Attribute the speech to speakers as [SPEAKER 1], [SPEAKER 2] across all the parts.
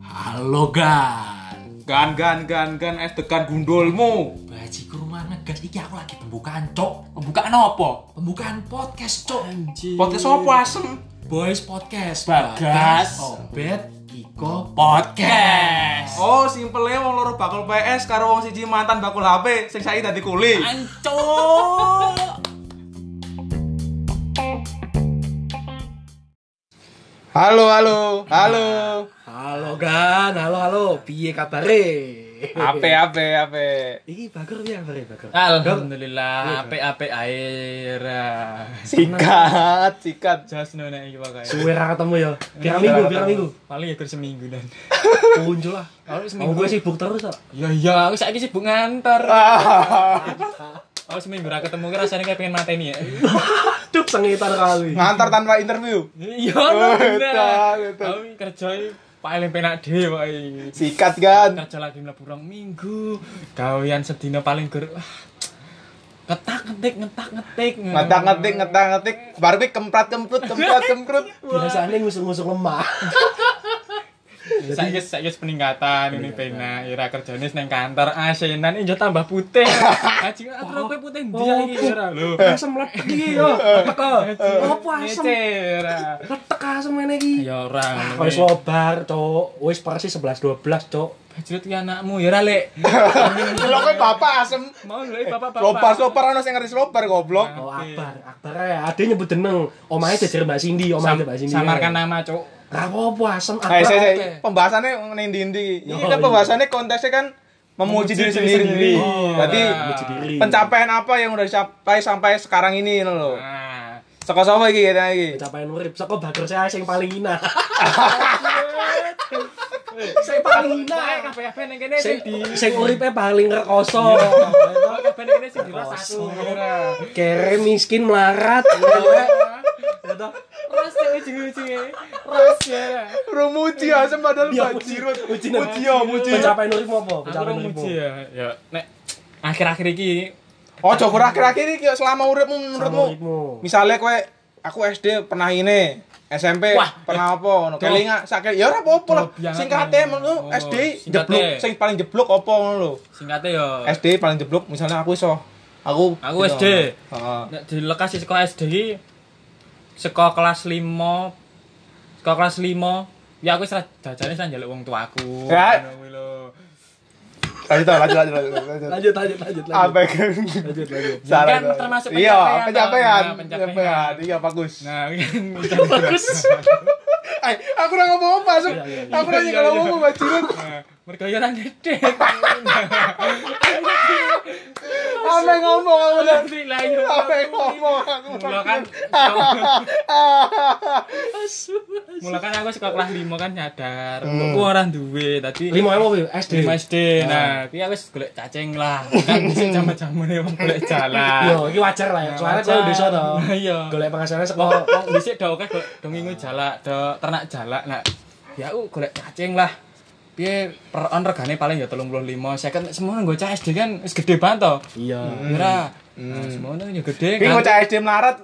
[SPEAKER 1] Halo Gan.
[SPEAKER 2] Gan gan gan gan es degan gundulmu.
[SPEAKER 1] Bajiku rumah negat iki aku lagi pembukaan, Cok. Pembukaan apa? Pembukaan podcast, Cok.
[SPEAKER 2] Podcast sopo asem?
[SPEAKER 1] Boys Podcast.
[SPEAKER 3] Bagas.
[SPEAKER 1] Obet, Kiko Podcast.
[SPEAKER 2] Oh, simpelnya wong loro bakul PS karo wong siji mantan bakul HP sing saiki dadi kuli.
[SPEAKER 3] Ancok.
[SPEAKER 2] Halo, halo, halo.
[SPEAKER 3] Halo Gan, halo halo, piye kabare?
[SPEAKER 2] Ape ape ape.
[SPEAKER 3] Iki bager piye kabare bager?
[SPEAKER 1] Alhamdulillah, ape-ape air.
[SPEAKER 2] Sikat, sikat.
[SPEAKER 4] Jas no nek iki wae.
[SPEAKER 3] Suwe ra ketemu ya. Kira minggu, kira minggu.
[SPEAKER 4] Paling ya kurang seminggu dan.
[SPEAKER 3] Muncul lah.
[SPEAKER 4] Kalau seminggu.
[SPEAKER 3] Mau gue sibuk terus kok.
[SPEAKER 4] Ya ya, aku saiki sibuk ngantor. Kalau seminggu ra ketemu ki rasane kayak pengen mateni ya.
[SPEAKER 3] Duh, sengitan kali.
[SPEAKER 2] Ngantar tanpa interview.
[SPEAKER 4] Iya, no, bener.
[SPEAKER 2] Betul, betul.
[SPEAKER 4] Aku ki kerja iki paling penak dhewe wae.
[SPEAKER 2] Sikat, Gan.
[SPEAKER 4] Kerja lagi mlebu rong minggu. Gawean sedina paling gur. Ngetak ngetik ngetak ngetik.
[SPEAKER 2] Ngetak ngetik, ngetak ngetik. Baru gue kemprat kemprut, kemprat kemprut.
[SPEAKER 3] Biasanya ngusuk-ngusuk lemah.
[SPEAKER 4] Saiki saiki peningkatan ini penak. Ira kerjane nang kantor ah, asinan ini tambah putih. Aji aku rokok putih ndi saiki ora lho.
[SPEAKER 3] Asem letek iki yo. Teko. Opo asem?
[SPEAKER 4] Ngecer.
[SPEAKER 3] Letek asem ngene iki.
[SPEAKER 4] Ya ora.
[SPEAKER 3] Kau wis lobar, Cok. Wis persis 11 12, Cok.
[SPEAKER 4] Bajrut ki anakmu ya ora lek.
[SPEAKER 2] Lo kok bapak asem.
[SPEAKER 4] Mau lek bapak-bapak.
[SPEAKER 2] Lobar, lobar, ono sing ngerti lobar goblok.
[SPEAKER 3] Oh, Akbar, Akbar ya. Ade nyebut jeneng. Omahe jajar Mbak Cindy, omahe
[SPEAKER 4] Sam Eh,
[SPEAKER 3] Mbak Cindy.
[SPEAKER 4] samarkan nama, Cuk.
[SPEAKER 3] Ra apa-apa asem
[SPEAKER 2] Hai,
[SPEAKER 3] Akbar.
[SPEAKER 2] Nah, saya, saya.
[SPEAKER 3] oke.
[SPEAKER 2] Pembahasannya ngendi-ndi. Ini
[SPEAKER 3] Oh, iya.
[SPEAKER 2] kan pembahasannya konteksnya kan memuji diri sendiri.
[SPEAKER 4] Oh,
[SPEAKER 2] Berarti
[SPEAKER 4] nah.
[SPEAKER 3] Memuji diri.
[SPEAKER 2] pencapaian apa yang udah dicapai sampai sekarang ini ngono lho.
[SPEAKER 4] Nah.
[SPEAKER 2] Saka sapa iki kene iki?
[SPEAKER 3] pencapaian Eh, urip saka bager saya sing paling ina sing paling
[SPEAKER 4] Nah,
[SPEAKER 3] ina
[SPEAKER 4] kabeh-kabeh ning kene
[SPEAKER 3] sing
[SPEAKER 4] sing di
[SPEAKER 3] sing uripe paling rekoso
[SPEAKER 4] kabeh ning kene sing dirasakno. Iya.
[SPEAKER 3] kere miskin melarat Iya, lelek. Ya toh?
[SPEAKER 4] Ras ya ujung-ujunge. Ras ya.
[SPEAKER 2] Rumuji asem padahal
[SPEAKER 3] Iya,
[SPEAKER 2] bajirut.
[SPEAKER 3] muji,
[SPEAKER 2] Muji
[SPEAKER 3] muji,
[SPEAKER 2] yo, muji.
[SPEAKER 3] pencapaian urip apa
[SPEAKER 4] Aku
[SPEAKER 3] pencapaian
[SPEAKER 4] rong
[SPEAKER 3] urip
[SPEAKER 4] muji ya. Ya nek akhir-akhir iki
[SPEAKER 2] Ojo kur akhir-akhir iki selama uripmu
[SPEAKER 3] menurutmu
[SPEAKER 2] menurutmu. Misalnya kowe aku SD pernah ini, SMP
[SPEAKER 4] Wah,
[SPEAKER 2] pernah apa ngono. Kelinga sakit ya ora apa-apa lah.
[SPEAKER 4] Goblok banget,
[SPEAKER 2] Singkate
[SPEAKER 4] ngono.
[SPEAKER 2] menurut
[SPEAKER 4] Oh,
[SPEAKER 2] SD
[SPEAKER 4] singkate.
[SPEAKER 2] jeblok sing paling jeblok apa ngono lho.
[SPEAKER 4] singkate ya
[SPEAKER 2] SD paling jeblok misalnya aku iso aku
[SPEAKER 4] Aku
[SPEAKER 2] gitu.
[SPEAKER 4] SD.
[SPEAKER 2] Heeh.
[SPEAKER 4] Nek dilekas saka SD ki saka kelas 5 saka kelas 5 ya aku wis ra- jajane wis ra njaluk wong tuaku.
[SPEAKER 2] Ya.
[SPEAKER 4] Ngono kuwi lho.
[SPEAKER 2] Lanjut lanjut lanjut lanjut. lanjut.
[SPEAKER 3] lanjut lanjut lanjut
[SPEAKER 2] Apa
[SPEAKER 3] lanjut
[SPEAKER 2] kan?
[SPEAKER 3] lanjut lanjut
[SPEAKER 2] Salah.
[SPEAKER 4] Kan termasuk
[SPEAKER 2] Iya,
[SPEAKER 4] pencapaian,
[SPEAKER 2] pencapaian.
[SPEAKER 4] Bang. Nah, pencapaian.
[SPEAKER 2] Pencapaian. Iya, bagus.
[SPEAKER 4] Nah,
[SPEAKER 3] bagus
[SPEAKER 2] Eh, aku udah ngomong apa, Sum? Aku udah
[SPEAKER 4] Iya,
[SPEAKER 2] kalau
[SPEAKER 4] iya.
[SPEAKER 2] ngomong Mbak Cirut.
[SPEAKER 4] mergo ya nang gede.
[SPEAKER 2] Apa yang ngomong aku
[SPEAKER 4] Iya,
[SPEAKER 2] udah?
[SPEAKER 4] Alhamdulillah yo.
[SPEAKER 2] Apa yang ngomong aku?
[SPEAKER 4] Mula kan mula kan aku sekolah kelas 5 kan nyadar, aku ora duwe tadi
[SPEAKER 3] lima ya? apa Wi? SD
[SPEAKER 4] Lima SD. Nah, kuwi aku wis golek cacing lah. Kan sik jaman-jamane wong golek
[SPEAKER 3] yo
[SPEAKER 4] jalan.
[SPEAKER 3] ini wajar lah
[SPEAKER 4] Iya,
[SPEAKER 3] ya soalnya kalau desa toh
[SPEAKER 4] Nah, Iya.
[SPEAKER 3] golek penghasilannya sekolah
[SPEAKER 4] Wong dhisik do akeh do- do ngingu jalak, do ternak jalak. Nah, ya aku golek cacing lah. Piye per on regane paling ya 35, 50 nek semono nggo cah SD kan wis gede banget to.
[SPEAKER 3] iya
[SPEAKER 4] Ora. Nah, semono ya gede
[SPEAKER 2] Ini ngocah SD melarat.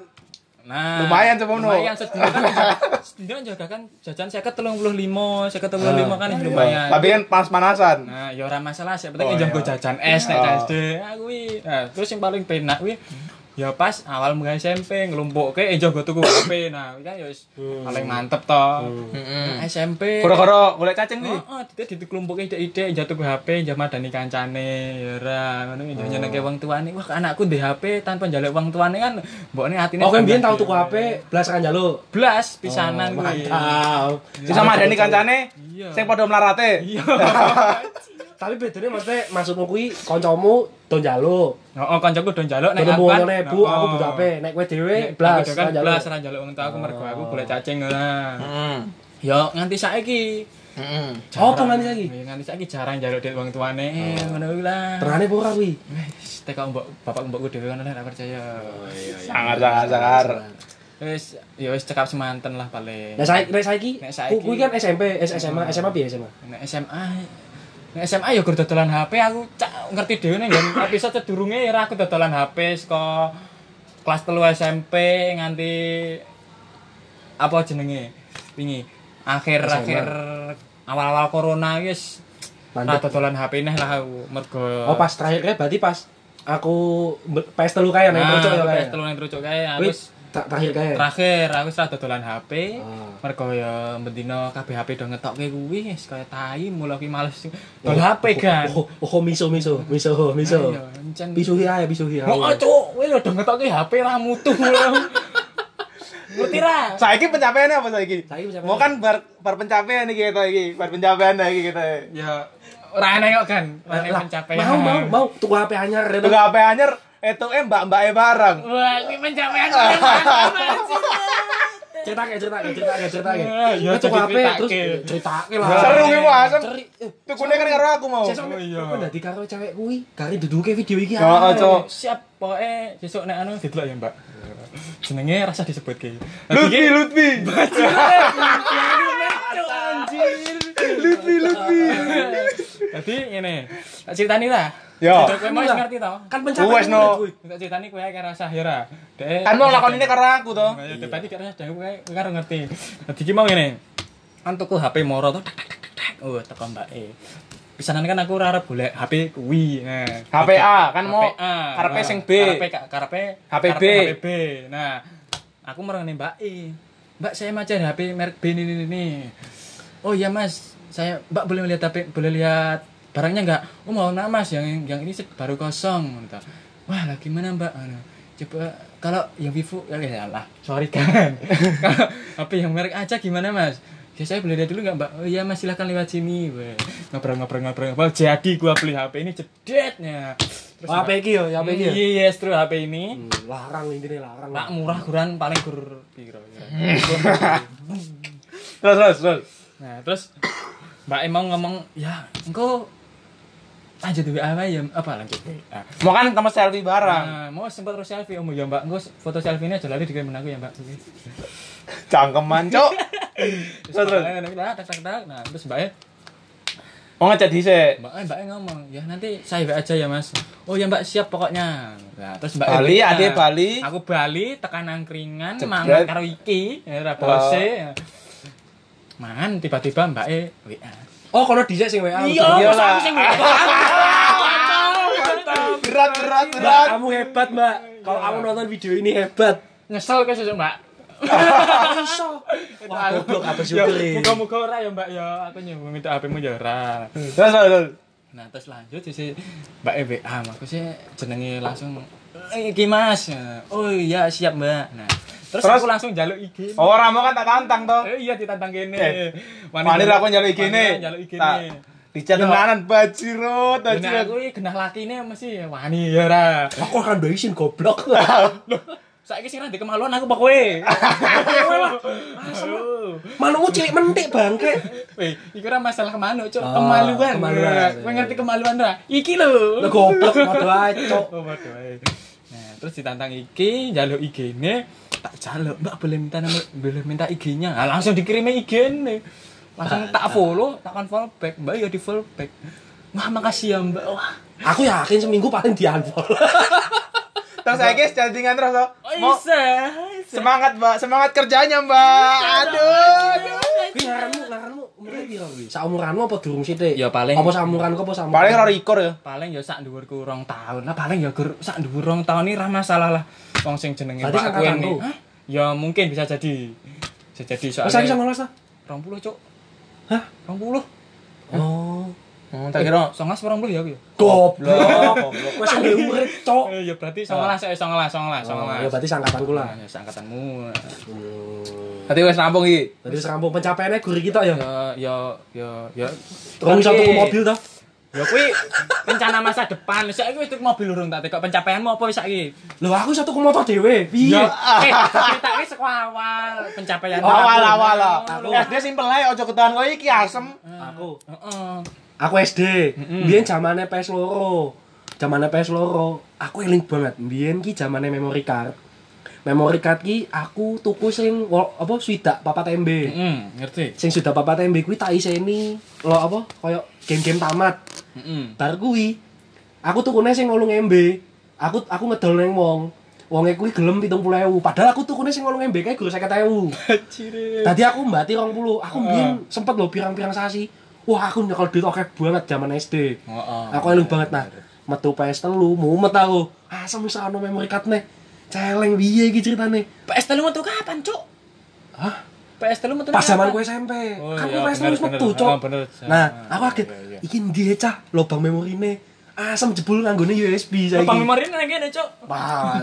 [SPEAKER 4] Nah,
[SPEAKER 2] Lumayan semono.
[SPEAKER 4] Lumayan sedina kan. Sedina jaga kan jajan 50 35, 50 35 kan lumayan.
[SPEAKER 2] Ah. Tapi kan panas-panasan.
[SPEAKER 4] Nah, ya ora masalah sih, penting
[SPEAKER 2] Oh,
[SPEAKER 4] njang
[SPEAKER 2] iya.
[SPEAKER 4] go jajan es nek
[SPEAKER 2] Oh.
[SPEAKER 4] SD. Aku kuwi. Nah, terus yang paling penak kuwi ya pas awal mulai SMP ngelumpukke enjo go eh, tuku HP. Nah, kuwi kan ya wis
[SPEAKER 2] Hmm.
[SPEAKER 4] paling mantep to. Nah, SMP.
[SPEAKER 2] Koro-koro golek cacing nih.
[SPEAKER 4] Heeh, dite dikelompoknya ide-ide enjo tuku HP, enjo madani kancane, ya ora
[SPEAKER 2] Oh.
[SPEAKER 4] ngono enjo nyenengke wong tuane. Wah, anakku ndek HP tanpa njaluk wong tuane kan mbokne atine.
[SPEAKER 3] Oh, kan biyen tau
[SPEAKER 4] tambah
[SPEAKER 3] tuku HP, belas kan jalo.
[SPEAKER 4] blas pisanan
[SPEAKER 3] Oh,
[SPEAKER 4] kuwi.
[SPEAKER 3] Mantap.
[SPEAKER 2] Si sama ada nih kancane.
[SPEAKER 4] Iya.
[SPEAKER 2] Sing padha melarate.
[SPEAKER 4] Iya.
[SPEAKER 3] Tapi bedanya maksudnya maksudmu kuwi kancamu do jalo.
[SPEAKER 4] Heeh, Oh, kancaku do njaluk nek
[SPEAKER 3] Ketemu
[SPEAKER 4] aku kan.
[SPEAKER 3] ngono Bu, aku
[SPEAKER 4] Heeh.
[SPEAKER 3] butuh HP. Nek kowe dhewe
[SPEAKER 4] Nek
[SPEAKER 3] blas Oh.
[SPEAKER 4] aku
[SPEAKER 3] kan
[SPEAKER 4] kan
[SPEAKER 3] jalo.
[SPEAKER 4] blas ra njaluk wong tua aku mergo aku golek cacing ora. Yo nganti saiki.
[SPEAKER 3] Oh, apa nganti saiki? Oh.
[SPEAKER 4] Ya, Nganti saiki jarang njaluk duit wong tuane ngono kuwi lah.
[SPEAKER 3] Terane apa ora kuwi?
[SPEAKER 4] Wis teka mbok bapak mbokku dhewe ngono lah ra percaya.
[SPEAKER 3] Oh,
[SPEAKER 2] Sangar sangar sangar.
[SPEAKER 4] Wis ya wis cekap semanten lah paling.
[SPEAKER 3] Nek saiki nek saiki
[SPEAKER 4] Nek saiki-
[SPEAKER 3] ku-
[SPEAKER 4] Hmm.
[SPEAKER 3] kuwi kan SMP, S- SMA, SMA piye SMA?
[SPEAKER 4] Nek SMA Nek SMA ya gur dodolan HP aku cak ngerti dhewe ning nggon episode sedurunge ya aku dodolan HP saka kelas 3 SMP nganti apa jenenge wingi akhir-akhir awal-awal corona wis
[SPEAKER 3] Mandek.
[SPEAKER 4] Nah, dodolan HP neh lah aku mergo
[SPEAKER 3] Oh pas terakhirnya berarti pas aku be- PS telu kaya nih,
[SPEAKER 4] Nah,
[SPEAKER 3] cocok ya kaya.
[SPEAKER 4] PS telu nang trucuk kae
[SPEAKER 3] Wih,
[SPEAKER 4] aku wis
[SPEAKER 3] tak terakhir kaya.
[SPEAKER 4] terakhir aku wis ra dodolan HP
[SPEAKER 3] Ah.
[SPEAKER 4] mergo ya bendina kabeh HP do ngetokke kuwi wis kaya tai mulo ki males dol HP kan
[SPEAKER 3] Oh, oh, oh, miso miso miso miso. ya,
[SPEAKER 4] Ayo, encen.
[SPEAKER 3] Pisuhi ae pisuhi ae.
[SPEAKER 4] Oh, cuk, kowe lho do ngetokke HP ra mutu lho. Ngerti ra?
[SPEAKER 2] Saiki pencapaiannya apa saiki?
[SPEAKER 3] Saiki pencapaian.
[SPEAKER 2] Mau kan bar bar pencapaian iki kita iki, bar pencapaian iki kita.
[SPEAKER 4] Ya ora enak kok kan, ora enak
[SPEAKER 3] Lah,
[SPEAKER 4] pencapaian.
[SPEAKER 3] Mau mau mau tuku HP anyar
[SPEAKER 2] Tuh
[SPEAKER 3] Reno.
[SPEAKER 2] HP anyar itu eh mbak-mbak e bareng.
[SPEAKER 4] Wah, ini pencapaian keren banget.
[SPEAKER 3] Ceritake ceritake ceritake ceritake.
[SPEAKER 4] Ah, iya,
[SPEAKER 3] Nah, tuku
[SPEAKER 4] jadi
[SPEAKER 3] HP
[SPEAKER 4] ceritake.
[SPEAKER 3] terus ceritake lah.
[SPEAKER 4] Iya.
[SPEAKER 2] Seru ki mau asem.
[SPEAKER 3] Ceri- eh,
[SPEAKER 2] Tukune kan karo aku mau.
[SPEAKER 3] Sesuk
[SPEAKER 4] Oh, iya.
[SPEAKER 3] kok dadi karo cewek kuwi, gari duduke video iki. ah.
[SPEAKER 2] Heeh,
[SPEAKER 3] ae.
[SPEAKER 2] Cuk.
[SPEAKER 4] Siap, pokoknya besok nek anu didelok ya, Mbak. Jenenge rasa disebut ki.
[SPEAKER 2] Lutfi, Lutfi. Lutfi, Lutfi.
[SPEAKER 4] iya. Dadi ngene. Tak critani ta?
[SPEAKER 2] Yo.
[SPEAKER 4] Cerita Kowe mau wis ngerti to?
[SPEAKER 3] Kan pencapaian.
[SPEAKER 2] Wes, no.
[SPEAKER 3] kuwi.
[SPEAKER 4] Tak critani kowe ae rasa ya ra. Dek-
[SPEAKER 2] Kan mau lakon ini karo aku toh.
[SPEAKER 4] Ya debat iki rasane dhewe kowe kowe karo ngerti. Dadi iki mau ngene. Kan tuku HP moro tuh tak tak tak tak. tak. Oh, teko mbake. Pisanan kan aku ora arep golek HP kuwi. Nah.
[SPEAKER 2] HP A, kan mau
[SPEAKER 4] HP A.
[SPEAKER 2] karepe
[SPEAKER 4] Nah,
[SPEAKER 2] sing B.
[SPEAKER 4] Karepe ka- karepe
[SPEAKER 2] HP B.
[SPEAKER 4] karepe HP B. Nah, aku merengene Mbak E. Mbak saya macan HP merek B ini ini ini. Oh iya Mas, saya Mbak boleh melihat HP, boleh lihat barangnya enggak? Oh mau nama Mas yang yang ini se- baru kosong gitu. Wah, lah gimana Mbak? Anu, coba kalau yang Vivo ya ya lah. Sorry kan. kalau HP yang merek aja gimana Mas? Ya saya boleh lihat dulu nggak mbak? Oh iya mas silahkan lewat sini Weh, Ngobrol-ngobrol-ngobrol Wah, Jadi gua beli HP ini jedetnya Terus
[SPEAKER 3] Wah, HP iki yo, HP iki. yo.
[SPEAKER 4] Iya, yes, terus HP ini.
[SPEAKER 3] Hmm, Larang intine larang.
[SPEAKER 4] Pak murah kurang paling gur piro. ya.
[SPEAKER 2] Terus, terus, terus.
[SPEAKER 4] Nah, terus Mbak emang ngomong, "Ya, engko lanjut WA apa ya? Apa lanjut WA?"
[SPEAKER 2] Mau kan temen selfie bareng.
[SPEAKER 4] Nah, mau sempat terus selfie, "Om, ya Mbak, engko foto selfie-nya aja lali dikirimin aku ya, Mbak."
[SPEAKER 2] Cangkeman, Cuk.
[SPEAKER 4] Terus
[SPEAKER 2] Terus, terus.
[SPEAKER 4] Mbak, nah, tak tak tak. Nah, terus Mbak
[SPEAKER 2] Mau ngecat dhisik.
[SPEAKER 4] Mbak Mbak ngomong, "Ya nanti saya WA aja ya, Mas." "Oh ya, Mbak, siap pokoknya." Nah, terus Mbak
[SPEAKER 2] Bali,
[SPEAKER 4] nah,
[SPEAKER 2] adek Bali.
[SPEAKER 4] Aku Bali tekan angkringan
[SPEAKER 2] Jebret.
[SPEAKER 4] mangan karo iki, ya ra bose. Mangan tiba-tiba Mbak E WA.
[SPEAKER 3] Oh, kono dhisik sing WA.
[SPEAKER 4] Iya,
[SPEAKER 2] iya
[SPEAKER 4] masa
[SPEAKER 2] lah.
[SPEAKER 4] aku sing WA.
[SPEAKER 2] Berat, berat,
[SPEAKER 3] Mbak,
[SPEAKER 2] berat.
[SPEAKER 3] kamu hebat, Mbak. Kalau kamu nonton video ini hebat.
[SPEAKER 4] Nyesel ke sesuk, Mbak.
[SPEAKER 3] Iso. Wah, goblok apa syukuri.
[SPEAKER 4] Muga-muga ora ya, Mbak ya. Aku nyoba minta HP-mu ya ora.
[SPEAKER 2] Terus, terus, terus.
[SPEAKER 4] Nah, terus lanjut sih Mbak E WA, aku sih jenenge langsung "Eh, iki Mas. Oh iya, siap, Mbak. Nah, terus,
[SPEAKER 2] Terus?
[SPEAKER 4] aku langsung jaluk IG.
[SPEAKER 2] Oh, ora mau kan tak tantang toh.
[SPEAKER 4] Eh, iya ditantang kene.
[SPEAKER 2] Eh, Wani lah aku nyaluk
[SPEAKER 4] Wani
[SPEAKER 2] igine.
[SPEAKER 4] lah Nyaluk igine.
[SPEAKER 2] Tak dicat tenanan bajirut,
[SPEAKER 4] Nah,
[SPEAKER 2] bajirut.
[SPEAKER 4] aku iki genah lakine mesti wani ya ora.
[SPEAKER 3] Aku akan doisin goblok.
[SPEAKER 4] Saiki sing ra ndek kemaluan aku pak kowe.
[SPEAKER 3] Manungmu cilik mentik bangke.
[SPEAKER 4] Weh, iku ora masalah kemanu, Cuk.
[SPEAKER 3] Ah,
[SPEAKER 4] Kemaluan.
[SPEAKER 3] kemaluan.
[SPEAKER 4] Nah, Kowe ngerti kemaluan ra? Iki lho.
[SPEAKER 3] Lah goblok padha ae, Cok.
[SPEAKER 4] Oh, waduh, eh. Nah, terus ditantang iki, njaluk IG-ne, tak jaluk, Mbak boleh minta nomor, boleh minta IG-nya. Nah, langsung dikirimi IG-ne. Langsung tak follow, tak kan follow back. Mbak ya di follow back. Wah, makasih ya, Mbak. Wah.
[SPEAKER 3] Aku yakin seminggu paling di-unfollow.
[SPEAKER 2] Terus saya guys chattingan terus toh.
[SPEAKER 4] Oh,
[SPEAKER 2] Mau
[SPEAKER 4] bisa.
[SPEAKER 2] semangat, Mbak. Semangat kerjanya, Mbak.
[SPEAKER 4] Iya,
[SPEAKER 2] Aduh. aduh.
[SPEAKER 3] Kuwi ngaranmu, ngaranmu umure piro kuwi? Saumuranmu apa durung sithik?
[SPEAKER 4] Ya, paling-
[SPEAKER 3] Apa saumuranku apa saumuran?
[SPEAKER 2] Paling ora ikor ya.
[SPEAKER 4] Paling ya sak dhuwurku rong tahun. Lah paling ya gur sak dhuwur rong tahun ini ra masalah lah. Wong sing jenenge
[SPEAKER 3] Berarti
[SPEAKER 4] Mbak
[SPEAKER 3] sangkatan
[SPEAKER 4] Kuen
[SPEAKER 3] lu?
[SPEAKER 4] ini. Hah? Ya mungkin bisa jadi. Bisa jadi
[SPEAKER 3] Wes saiki
[SPEAKER 4] soalnya.
[SPEAKER 3] sama Mas. ta?
[SPEAKER 4] 20, Cuk.
[SPEAKER 3] Hah?
[SPEAKER 4] 20.
[SPEAKER 3] Oh.
[SPEAKER 2] Hmm, tak
[SPEAKER 4] Tak
[SPEAKER 2] kira
[SPEAKER 4] kira 19 20 ya aku ya.
[SPEAKER 3] Goblok. Wes ndek murid, Cok. Oh,
[SPEAKER 4] Eh, ya berarti songolas eh songolas songolas songolas.
[SPEAKER 3] Ya berarti sangkatanku lah.
[SPEAKER 4] Ya seangkatanmu.
[SPEAKER 3] Hmm.
[SPEAKER 2] Nanti wes rampung iki.
[SPEAKER 3] Berarti serampung pencapaiannya gurih kita ya.
[SPEAKER 4] Ya ya ya ya.
[SPEAKER 3] Rong satu
[SPEAKER 4] Tapi-
[SPEAKER 3] mobil ta.
[SPEAKER 4] Ya kuwi rencana masa depan. Saiki wis tuku mobil urung tak tekok pencapaianmu apa wis saiki?
[SPEAKER 3] Loh aku satu ke motor dhewe. Piye?
[SPEAKER 4] Eh, ceritake saka awal pencapaian.
[SPEAKER 3] Iya. Oh,
[SPEAKER 2] Awal
[SPEAKER 4] aku.
[SPEAKER 2] awal lah.
[SPEAKER 3] Aku.
[SPEAKER 2] Ya dia simpel ae ojo ketahan koyo iki asem.
[SPEAKER 3] Aku.
[SPEAKER 4] Heeh.
[SPEAKER 3] Aku SD. Biyen zamane PS loro. Zamane PS loro, aku eling banget. Biyen ki zamane memory card. Memory card ki aku tuku sing wo- apa swidak papat MB.
[SPEAKER 4] Heeh, ngerti.
[SPEAKER 3] Sing swidak papat MB kuwi tak iseni lo apa koyo game-game tamat.
[SPEAKER 4] Heeh.
[SPEAKER 3] Bar kuwi aku tukune sing 8 MB. Aku aku ngedol neng wong. wonge kuwi gelem 70.000. Padahal aku tukune sing 8 MB kae guru 50.000.
[SPEAKER 4] Cire.
[SPEAKER 3] Tadi aku mbati 20. Aku mbiyen sempet lho pirang-pirang sasi. Wah, aku nyekel duit akeh banget zaman SD.
[SPEAKER 4] Heeh.
[SPEAKER 3] Aku eling banget nah. Metu PS3 mumet aku. Asem wis ana memory card neh. Celeng piye iki ceritane?
[SPEAKER 4] PS telu metu kapan, Cuk?
[SPEAKER 3] Hah?
[SPEAKER 4] PS telu metu
[SPEAKER 3] Pas zaman
[SPEAKER 4] kapan?
[SPEAKER 3] gue SMP.
[SPEAKER 4] Oh,
[SPEAKER 3] kan
[SPEAKER 4] iya,
[SPEAKER 3] gue PS3 wis
[SPEAKER 4] bener,
[SPEAKER 3] metu,
[SPEAKER 4] bener.
[SPEAKER 3] Cok.
[SPEAKER 4] Ah, bener.
[SPEAKER 3] Nah,
[SPEAKER 4] Ah,
[SPEAKER 3] aku
[SPEAKER 4] iya,
[SPEAKER 3] kaget.
[SPEAKER 4] iya.
[SPEAKER 3] Iki ndi cah lobang memorine? Asem jebul nganggone USB saiki.
[SPEAKER 4] Bang Memori nang kene, Cuk.
[SPEAKER 3] Wah,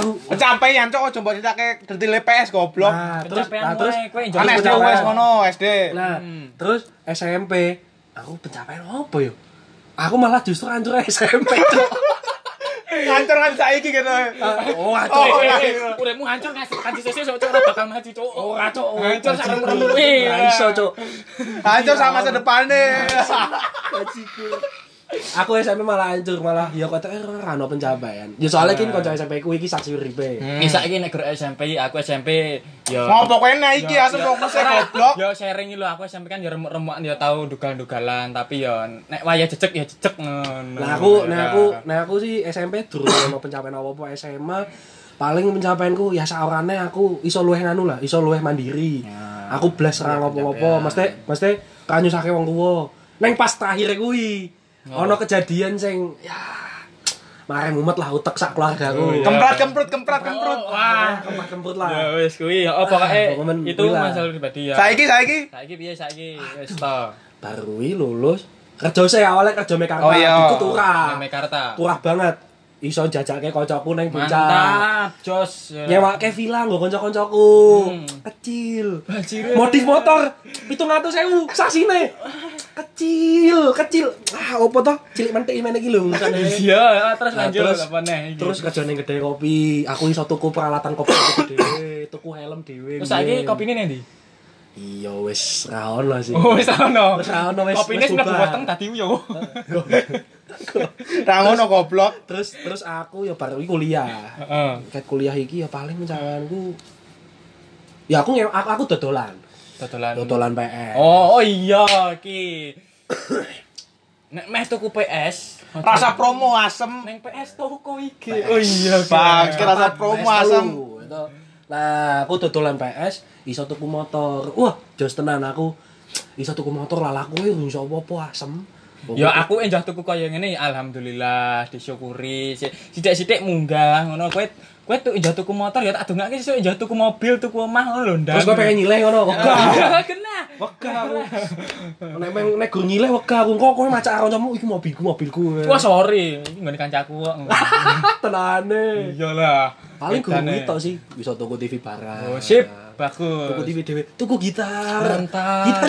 [SPEAKER 3] Aku
[SPEAKER 2] Kecapean cok ojo mbok ceritake detail PS goblok.
[SPEAKER 3] Nah, terus
[SPEAKER 4] Kecapean
[SPEAKER 3] nah, terus
[SPEAKER 4] wae, kowe
[SPEAKER 2] Kan
[SPEAKER 4] Jangan
[SPEAKER 2] SD
[SPEAKER 3] pencapaian.
[SPEAKER 2] wes ngono SD.
[SPEAKER 3] Nah, terus SMP aku pencapaian apa yo? Aku malah justru hancur SMP. Cok.
[SPEAKER 2] Hancur kan saiki gitu.
[SPEAKER 3] oh,
[SPEAKER 2] Oh,
[SPEAKER 3] acok.
[SPEAKER 2] iya.
[SPEAKER 4] Uripmu hancur kan kanji sosial Cuk, ora bakal maju, Cuk.
[SPEAKER 3] Ora cok,
[SPEAKER 4] Hancur
[SPEAKER 3] Bajiku.
[SPEAKER 4] sarang remu.
[SPEAKER 3] Ora iso cok.
[SPEAKER 2] Hancur sama masa depane.
[SPEAKER 3] Bajiku. Aku SMP malah hancur, malah ya kata eh ora ono pencapaian. Ya soalnya kan kanca SMP ku iki saksi uripe.
[SPEAKER 4] Ini saiki nek guru SMP, aku SMP ya
[SPEAKER 2] Ngopo kowe nek iki asem fokus goblok.
[SPEAKER 4] Ya sharing lho aku SMP kan ya remuk-remukan ya tau dugal-dugalan tapi ya nek wayah jejeg ya jejeg ngono. Ya.
[SPEAKER 3] Nah aku, nah aku, nah aku sih SMP durung ono pencapaian apa-apa SMA paling pencapaianku ya saorane aku iso luweh nganu lah, iso luweh mandiri. Aku blas ra ngopo-ngopo, mesti mesti kanyusake wong tuwa. Neng pas terakhir kuwi ono kejadian sing ya mare mumet lah utek sak keluarga aku.
[SPEAKER 2] Kemprat kemprut kemprat kemprut.
[SPEAKER 4] wah.
[SPEAKER 3] Kempet-kempet
[SPEAKER 4] Ya
[SPEAKER 3] lah.
[SPEAKER 4] wis kuwi ya oh, pokoke
[SPEAKER 3] Ah, pokoknya
[SPEAKER 4] itu
[SPEAKER 3] kuwi lah.
[SPEAKER 4] masalah pribadi ya.
[SPEAKER 2] Saiki saiki.
[SPEAKER 4] Saiki piye saiki? Wis to.
[SPEAKER 3] Baru kuwi lulus kerja saya awalnya kerja mekarta
[SPEAKER 2] Oh, iya.
[SPEAKER 3] iku turah.
[SPEAKER 4] Nang Mekarta.
[SPEAKER 3] Turah banget. Iso jajake kancaku neng puncak.
[SPEAKER 4] Mantap, Jos.
[SPEAKER 3] nyewa ke villa nggo konco-koncoku
[SPEAKER 4] Hmm.
[SPEAKER 3] kecil
[SPEAKER 4] Bajire.
[SPEAKER 3] modif motor itu ngatus sewu saksine kecil kecil ah opo toh cilik mentik ini iki lho misalnya.
[SPEAKER 4] Iya, terus
[SPEAKER 3] Nah,
[SPEAKER 4] lanjut
[SPEAKER 3] terus-
[SPEAKER 4] apa neh? iki?
[SPEAKER 3] terus kerja ning kedai kopi aku iso tuku peralatan kopi aku dhewe tuku helm dhewe
[SPEAKER 4] terus
[SPEAKER 3] Mbien.
[SPEAKER 4] saiki kopine nih ndi?
[SPEAKER 3] iya wis ra ono sih
[SPEAKER 4] Oh, wis ono.
[SPEAKER 3] Wis ono, wis- wis
[SPEAKER 4] Kopine sing mlebu
[SPEAKER 3] bubar.
[SPEAKER 4] weteng tadi yo.
[SPEAKER 2] Ra ngono goblok.
[SPEAKER 3] terus terus aku ya baru iki kuliah
[SPEAKER 4] Heeh.
[SPEAKER 3] ket kuliah iki ya paling pencapaianku ya aku nge- aku, aku dodolan
[SPEAKER 4] Dodolan.
[SPEAKER 3] dodolan PS
[SPEAKER 4] Oh, oh iya iki. Nek meh tuku PS,
[SPEAKER 2] Rasa promo asem.
[SPEAKER 4] Neng PS toko iki. Oh iya,
[SPEAKER 2] Bang,
[SPEAKER 4] Bang.
[SPEAKER 2] rasa promo
[SPEAKER 3] PS
[SPEAKER 2] asem.
[SPEAKER 3] telu, itu. Nah, aku dodolan PS, iso tuku motor. Wah, jos tenan aku. Iso tuku motor lah e, aku iki iso apa-apa asem.
[SPEAKER 4] Ya aku enjah tuku kaya ngene ya, alhamdulillah disyukuri. Si- Sithik-sithik munggah ngono kowe kowe tuh enjah tuku motor ya tak dongake sesuk enjah tuku mobil, tuku omah ngono lho, Ndang.
[SPEAKER 3] terus gue pengen nyileh ngono.
[SPEAKER 4] Ya.
[SPEAKER 3] Wegah.
[SPEAKER 4] Wah, kena.
[SPEAKER 3] Wegah aku. Nek meng nek gur nyileh wegah aku. Kok kowe macak karo kancamu iki mobilku, mobilku. e.
[SPEAKER 4] Wah, sorry. Iki nggone kancaku kok.
[SPEAKER 3] Tenane.
[SPEAKER 4] Iya. Iyalah.
[SPEAKER 3] Paling gur
[SPEAKER 4] Bedane.
[SPEAKER 3] kuwi tok sih, iso tuku TV barang.
[SPEAKER 4] e. Oh, sip.
[SPEAKER 3] Tuku
[SPEAKER 4] Bagus.
[SPEAKER 3] TV dhewe, tuku gitar.
[SPEAKER 4] Mantap.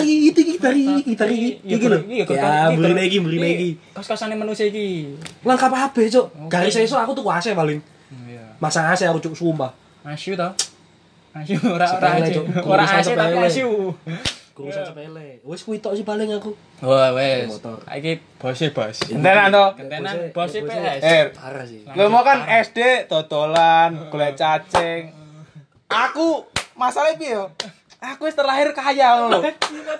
[SPEAKER 3] Gitar
[SPEAKER 4] Iya,
[SPEAKER 3] iki, iki gitar iki, gitar iki. Iki lho. Ya, beli iki, beli iki.
[SPEAKER 4] Kos-kosane manusia iki.
[SPEAKER 3] Lengkap kabeh, Cuk. Garis esuk aku tuku AC paling.
[SPEAKER 4] Iya.
[SPEAKER 3] Masang AC aku cuk sumpah.
[SPEAKER 4] Asyu to. Asyu ora ora
[SPEAKER 3] Sepele,
[SPEAKER 4] asyu.
[SPEAKER 3] Cuk.
[SPEAKER 4] Ora
[SPEAKER 3] Urusan
[SPEAKER 4] asyu tapi
[SPEAKER 3] sepele.
[SPEAKER 4] asyu.
[SPEAKER 3] Kurusan sepele. Wis kuwi tok sih paling aku.
[SPEAKER 4] Wah wes.
[SPEAKER 3] Motor.
[SPEAKER 4] Iki bose bos.
[SPEAKER 2] Entenan to.
[SPEAKER 4] Kentenan bose
[SPEAKER 3] Bose.
[SPEAKER 4] PS.
[SPEAKER 2] Eh,
[SPEAKER 3] Parah sih.
[SPEAKER 2] Lo mau kan SD totolan, golek cacing. Aku masalahnya piye yo? Aku wis terakhir kaya lho.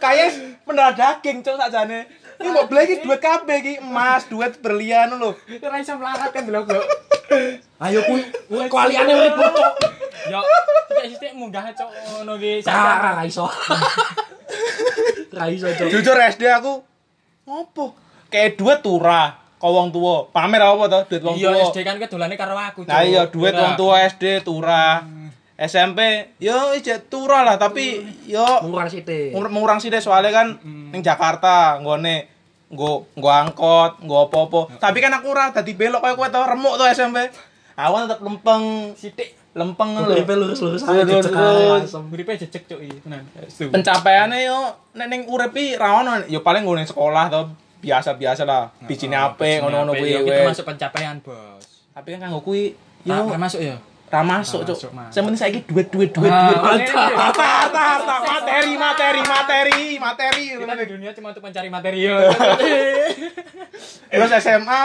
[SPEAKER 2] Kaya mendadak daging cok sakjane. Ini mau beli iki duit kabeh iki, emas, duit berlian lho.
[SPEAKER 4] Ora iso melarat kan delok kok.
[SPEAKER 3] Ayo kuwi kuwi kualiane urip cuk.
[SPEAKER 4] Yo, sithik-sithik munggah cok ngono ki.
[SPEAKER 3] Ra ra- ra iso. Ra iso cuk.
[SPEAKER 2] Jujur SD aku ngopo? Kayak duit turah, kok wong tuwa. Pamer apa to duit wong
[SPEAKER 4] Iya
[SPEAKER 2] tuwa.
[SPEAKER 4] SD kan kedolane karo aku.
[SPEAKER 2] Nah
[SPEAKER 4] Cuk.
[SPEAKER 2] iya duit
[SPEAKER 4] Ora.
[SPEAKER 2] wong tuwa SD turah. SMP yo ijek turah lah tapi yo
[SPEAKER 3] Murah sithik.
[SPEAKER 2] Mur- murang sih deh soalnya kan ning Jakarta nggone nggo nggo angkot nggo apa-apa
[SPEAKER 4] Ya.
[SPEAKER 2] tapi kan aku ora dadi belok kaya kowe tau remuk tuh SMP awan tetep lempeng
[SPEAKER 4] Sithik.
[SPEAKER 2] lempeng
[SPEAKER 3] Uripe
[SPEAKER 2] lho
[SPEAKER 3] e lurus-lurus ae
[SPEAKER 2] Lurus,
[SPEAKER 3] cecek
[SPEAKER 2] lurus.
[SPEAKER 3] asem.
[SPEAKER 4] Uripe jejeg cok iki iya, tenan. Asu.
[SPEAKER 2] pencapaiannya yo nek ning urip iki ra ono yo paling nggone sekolah to biasa-biasa lah
[SPEAKER 4] Nah,
[SPEAKER 2] bijine apik ngono-ngono kuwi
[SPEAKER 4] Yo,
[SPEAKER 2] weh.
[SPEAKER 4] Kita masuk pencapaian, Bos.
[SPEAKER 2] tapi kan kanggo kuwi yo
[SPEAKER 4] Yo, masuk ya.
[SPEAKER 2] ra masuk cuk
[SPEAKER 4] Ra masuk, Ah. masuk.
[SPEAKER 2] sing penting saiki duit duit duit duit harta harta harta materi materi materi materi
[SPEAKER 4] Kita di dunia cuma untuk mencari material.
[SPEAKER 2] terus SMA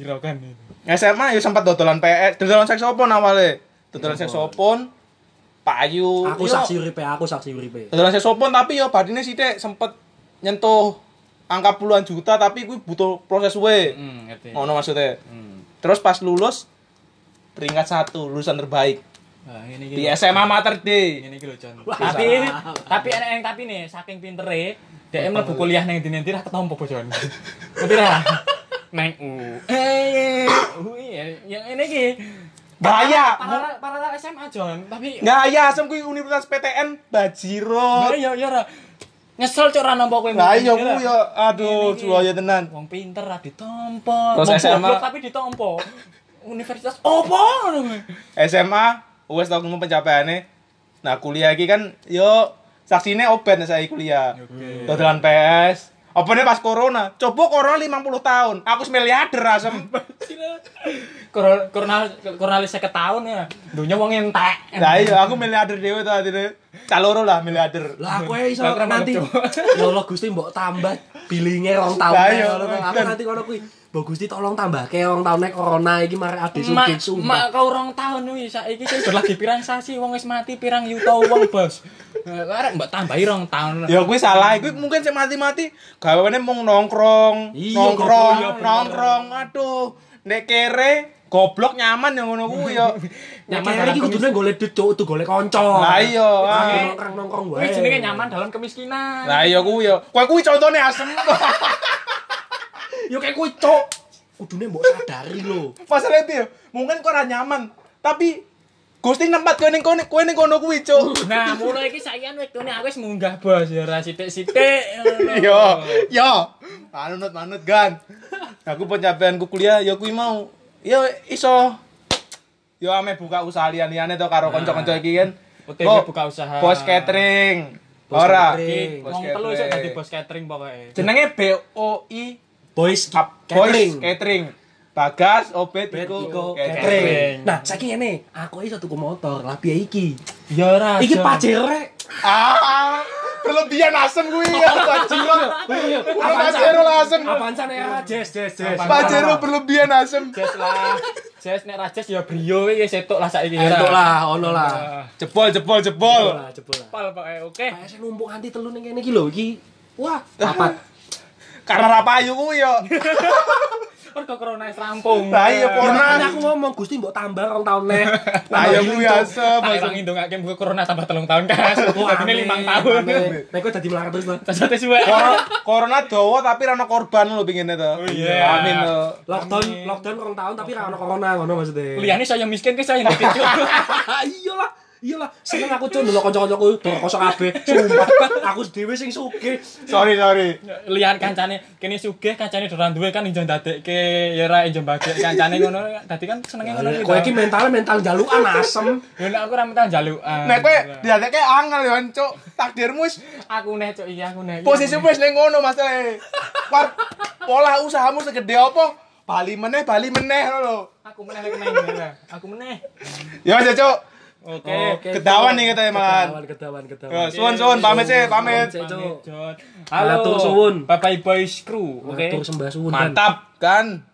[SPEAKER 4] hiraukan itu.
[SPEAKER 2] SMA ya sempat dodolan PS, dodolan saksofon awalnya. Dodolan saksofon, payu.
[SPEAKER 3] Aku
[SPEAKER 2] yo,
[SPEAKER 3] saksi uripe, aku saksi e. uripe.
[SPEAKER 2] Dodolan saksofon tapi ya badine sithik sempet nyentuh angka puluhan juta tapi kuwi butuh proses we.
[SPEAKER 4] Hmm, ngerti.
[SPEAKER 2] Ngono maksudnya. Terus pas lulus peringkat satu lulusan terbaik
[SPEAKER 4] Nah, ini
[SPEAKER 2] di SMA Mater D.
[SPEAKER 4] Ini iki lho, Jon.
[SPEAKER 2] Bisa.
[SPEAKER 4] tapi tapi enak yang tapi nih saking pintere dhek mlebu kuliah nang ndi ndi ra ketompo bojon. Ngerti ra? Nang U. Eh, ui, yang ini ki.
[SPEAKER 2] Bahaya.
[SPEAKER 4] Para para para SMA Jon, tapi
[SPEAKER 2] Nggak ya, asem kuwi Universitas PTN Bajiro.
[SPEAKER 4] ya ya ra. Nyesel cok ra nampa kowe.
[SPEAKER 2] Lah iya
[SPEAKER 4] Ngerti ra?
[SPEAKER 2] ku yo aduh
[SPEAKER 4] Ini-
[SPEAKER 2] jual ya tenan.
[SPEAKER 4] Wong pinter ra ditompo.
[SPEAKER 2] Terus
[SPEAKER 4] Wong
[SPEAKER 2] SMA.
[SPEAKER 4] goblok tapi ditompo. Universitas opo ngono kuwi?
[SPEAKER 2] SMA wes tau nemu pencapaiannya. Nah, kuliah iki kan yo saksine oben saya kuliah. Dodolan PS. Opennya pas corona. Coba corona 50 tahun. Aku miliarder asem.
[SPEAKER 4] Kor- Kornal kornalis 50 tahun ya. Dunya wong entek.
[SPEAKER 2] Lah iya aku miliarder dhewe to atine. Caloro lah miliarder.
[SPEAKER 3] Lah aku iso
[SPEAKER 4] Lah, kenapa
[SPEAKER 3] nanti
[SPEAKER 4] coba?
[SPEAKER 3] ya Allah Gusti mbok tambah bilinge rong taun.
[SPEAKER 2] Lah,
[SPEAKER 3] nek,
[SPEAKER 2] iya.
[SPEAKER 3] ngono to. Aku nanti ngono kuwi. Mbok Gusti tolong tambahke rong taun nek corona iki mari ade
[SPEAKER 4] Mak,
[SPEAKER 3] sugih sumpah.
[SPEAKER 4] mak kau orang tahun nih, saiki sih berlagi pirang sasi, wong wis mati pirang yuta wong bos. Eh, Arek mbak tambahi rong tahun.
[SPEAKER 2] Ya kuwi salah, kuwi mungkin sing mati-mati gaweane mung nongkrong,
[SPEAKER 3] Iya,
[SPEAKER 2] nongkrong,
[SPEAKER 3] goblok, iya, bener.
[SPEAKER 2] nongkrong. Aduh, nek kere goblok nyaman yang ngono kuwi ya.
[SPEAKER 3] Nyaman kene iki kudune golek duit cuk, tuh golek kanca.
[SPEAKER 2] Lah iya, ah.
[SPEAKER 3] nongkrong nongkrong wae.
[SPEAKER 4] Wih jenenge nyaman dalam kemiskinan.
[SPEAKER 2] Lah iya kuwi ya. Kowe kuwi contone asem.
[SPEAKER 3] Yo kayak kuwi cuk. Kudune mbok sadari lho.
[SPEAKER 2] Masalah itu ya, mungkin kok ora nyaman, tapi Gusti nempat kowe ning kono, kowe ning kono kuwi, Cuk.
[SPEAKER 4] Nah, mulai iki sakian wektune aku wis munggah bos ya ra sithik-sithik. Iya.
[SPEAKER 2] Yo, yo. Manut manut gan. Aku pencapaianku kuliah ya kuwi mau. Yo iso yo ame buka usaha liyan-liyane to karo kanca-kanca iki kan.
[SPEAKER 4] Oke,
[SPEAKER 2] Bo-
[SPEAKER 4] buka usaha.
[SPEAKER 2] Bos catering.
[SPEAKER 3] Bos
[SPEAKER 2] Ora.
[SPEAKER 3] catering.
[SPEAKER 2] Bos
[SPEAKER 4] Wong telu iso dadi
[SPEAKER 2] catering.
[SPEAKER 4] bos catering pokoke.
[SPEAKER 2] Jenenge BOI
[SPEAKER 3] Boys
[SPEAKER 2] Catering.
[SPEAKER 3] catering.
[SPEAKER 2] Catering. Bagas, Obed,
[SPEAKER 3] Iko
[SPEAKER 2] Iko, catering.
[SPEAKER 3] catering. Nah, saiki ngene, aku iso tuku motor, lah biaya iki.
[SPEAKER 4] Ya ora.
[SPEAKER 3] Iki
[SPEAKER 4] Jon.
[SPEAKER 3] pajero rek.
[SPEAKER 2] Ah, berlebihan asem gue ya, Pajero. Udah Pajero lah asem.
[SPEAKER 3] Avanza era jazz jazz jazz.
[SPEAKER 2] Pajero berlebihan asem.
[SPEAKER 4] Jazz lah. Jazz nek ra jazz ya brio iki setok lah saiki. ya.
[SPEAKER 3] Entuk lah, ono lah.
[SPEAKER 2] Jebol, jebol,
[SPEAKER 3] Jebol
[SPEAKER 2] jebol.
[SPEAKER 3] lah, jebol lah.
[SPEAKER 4] Pal pokoke oke.
[SPEAKER 3] Kayak saya numpuk anti telu ning kene iki lho iki. Wah, papat.
[SPEAKER 2] Karena rapayu gue ya.
[SPEAKER 4] Pergo corona wis rampung.
[SPEAKER 2] Lah iya, corona.
[SPEAKER 3] Makanya aku ngomong Gusti mbok tambah rong taun neh.
[SPEAKER 2] Ayo gue asem.
[SPEAKER 4] Tak
[SPEAKER 2] asem.
[SPEAKER 4] ilang ndongake muga corona tambah telung tahun kas. Dadine 5 tahun.
[SPEAKER 3] Nek kok dadi melarat terus lah.
[SPEAKER 4] Tasate suwe.
[SPEAKER 2] Kor- Corona dowo tapi rano korban lo pinginnya tuh.
[SPEAKER 4] iya.
[SPEAKER 2] Amin lo.
[SPEAKER 3] Lockdown, lockdown rong taun tapi ra ono corona ngono maksudnya.
[SPEAKER 4] Liyane saya miskin ki saya ndek
[SPEAKER 3] Iyalah, iyalah. Seneng aku cun delok kanca-kancaku dor kosong kabeh. Sumpah, aku dhewe sing sugih.
[SPEAKER 2] Sorry, sorry.
[SPEAKER 4] lihat kancane kene sugih kancane doran duwe kan injon dadekke ya ra injon bagek kancane ngono dadi kan senenge ngono
[SPEAKER 3] Kowe iki mentalnya mental jalukan asem.
[SPEAKER 4] yo nek aku ra ah, mental jalukan
[SPEAKER 2] Nek gue diatek kayak angel ya, cok. Takdirmu wis
[SPEAKER 4] aku nek cok iya aku nek
[SPEAKER 2] posisi wis ning ngono masalah. Par pola usahamu segede apa? Bali meneh, bali meneh lo.
[SPEAKER 4] aku meneh lek meneh aku meneh
[SPEAKER 2] Ya wis ya, cok.
[SPEAKER 4] oke
[SPEAKER 2] Kedawan nih
[SPEAKER 3] Kedawan,
[SPEAKER 2] kita emang.
[SPEAKER 3] kedawan, kedawan.
[SPEAKER 2] Ya, Suwun, suwun, pamit sih, pamit.
[SPEAKER 3] Cek, Cuk.
[SPEAKER 4] Jod.
[SPEAKER 3] Matur
[SPEAKER 4] halo
[SPEAKER 3] suwun.
[SPEAKER 4] bapak ibu boys crew oke
[SPEAKER 3] Matur sembah suwun. Tan.
[SPEAKER 2] Mantap kan?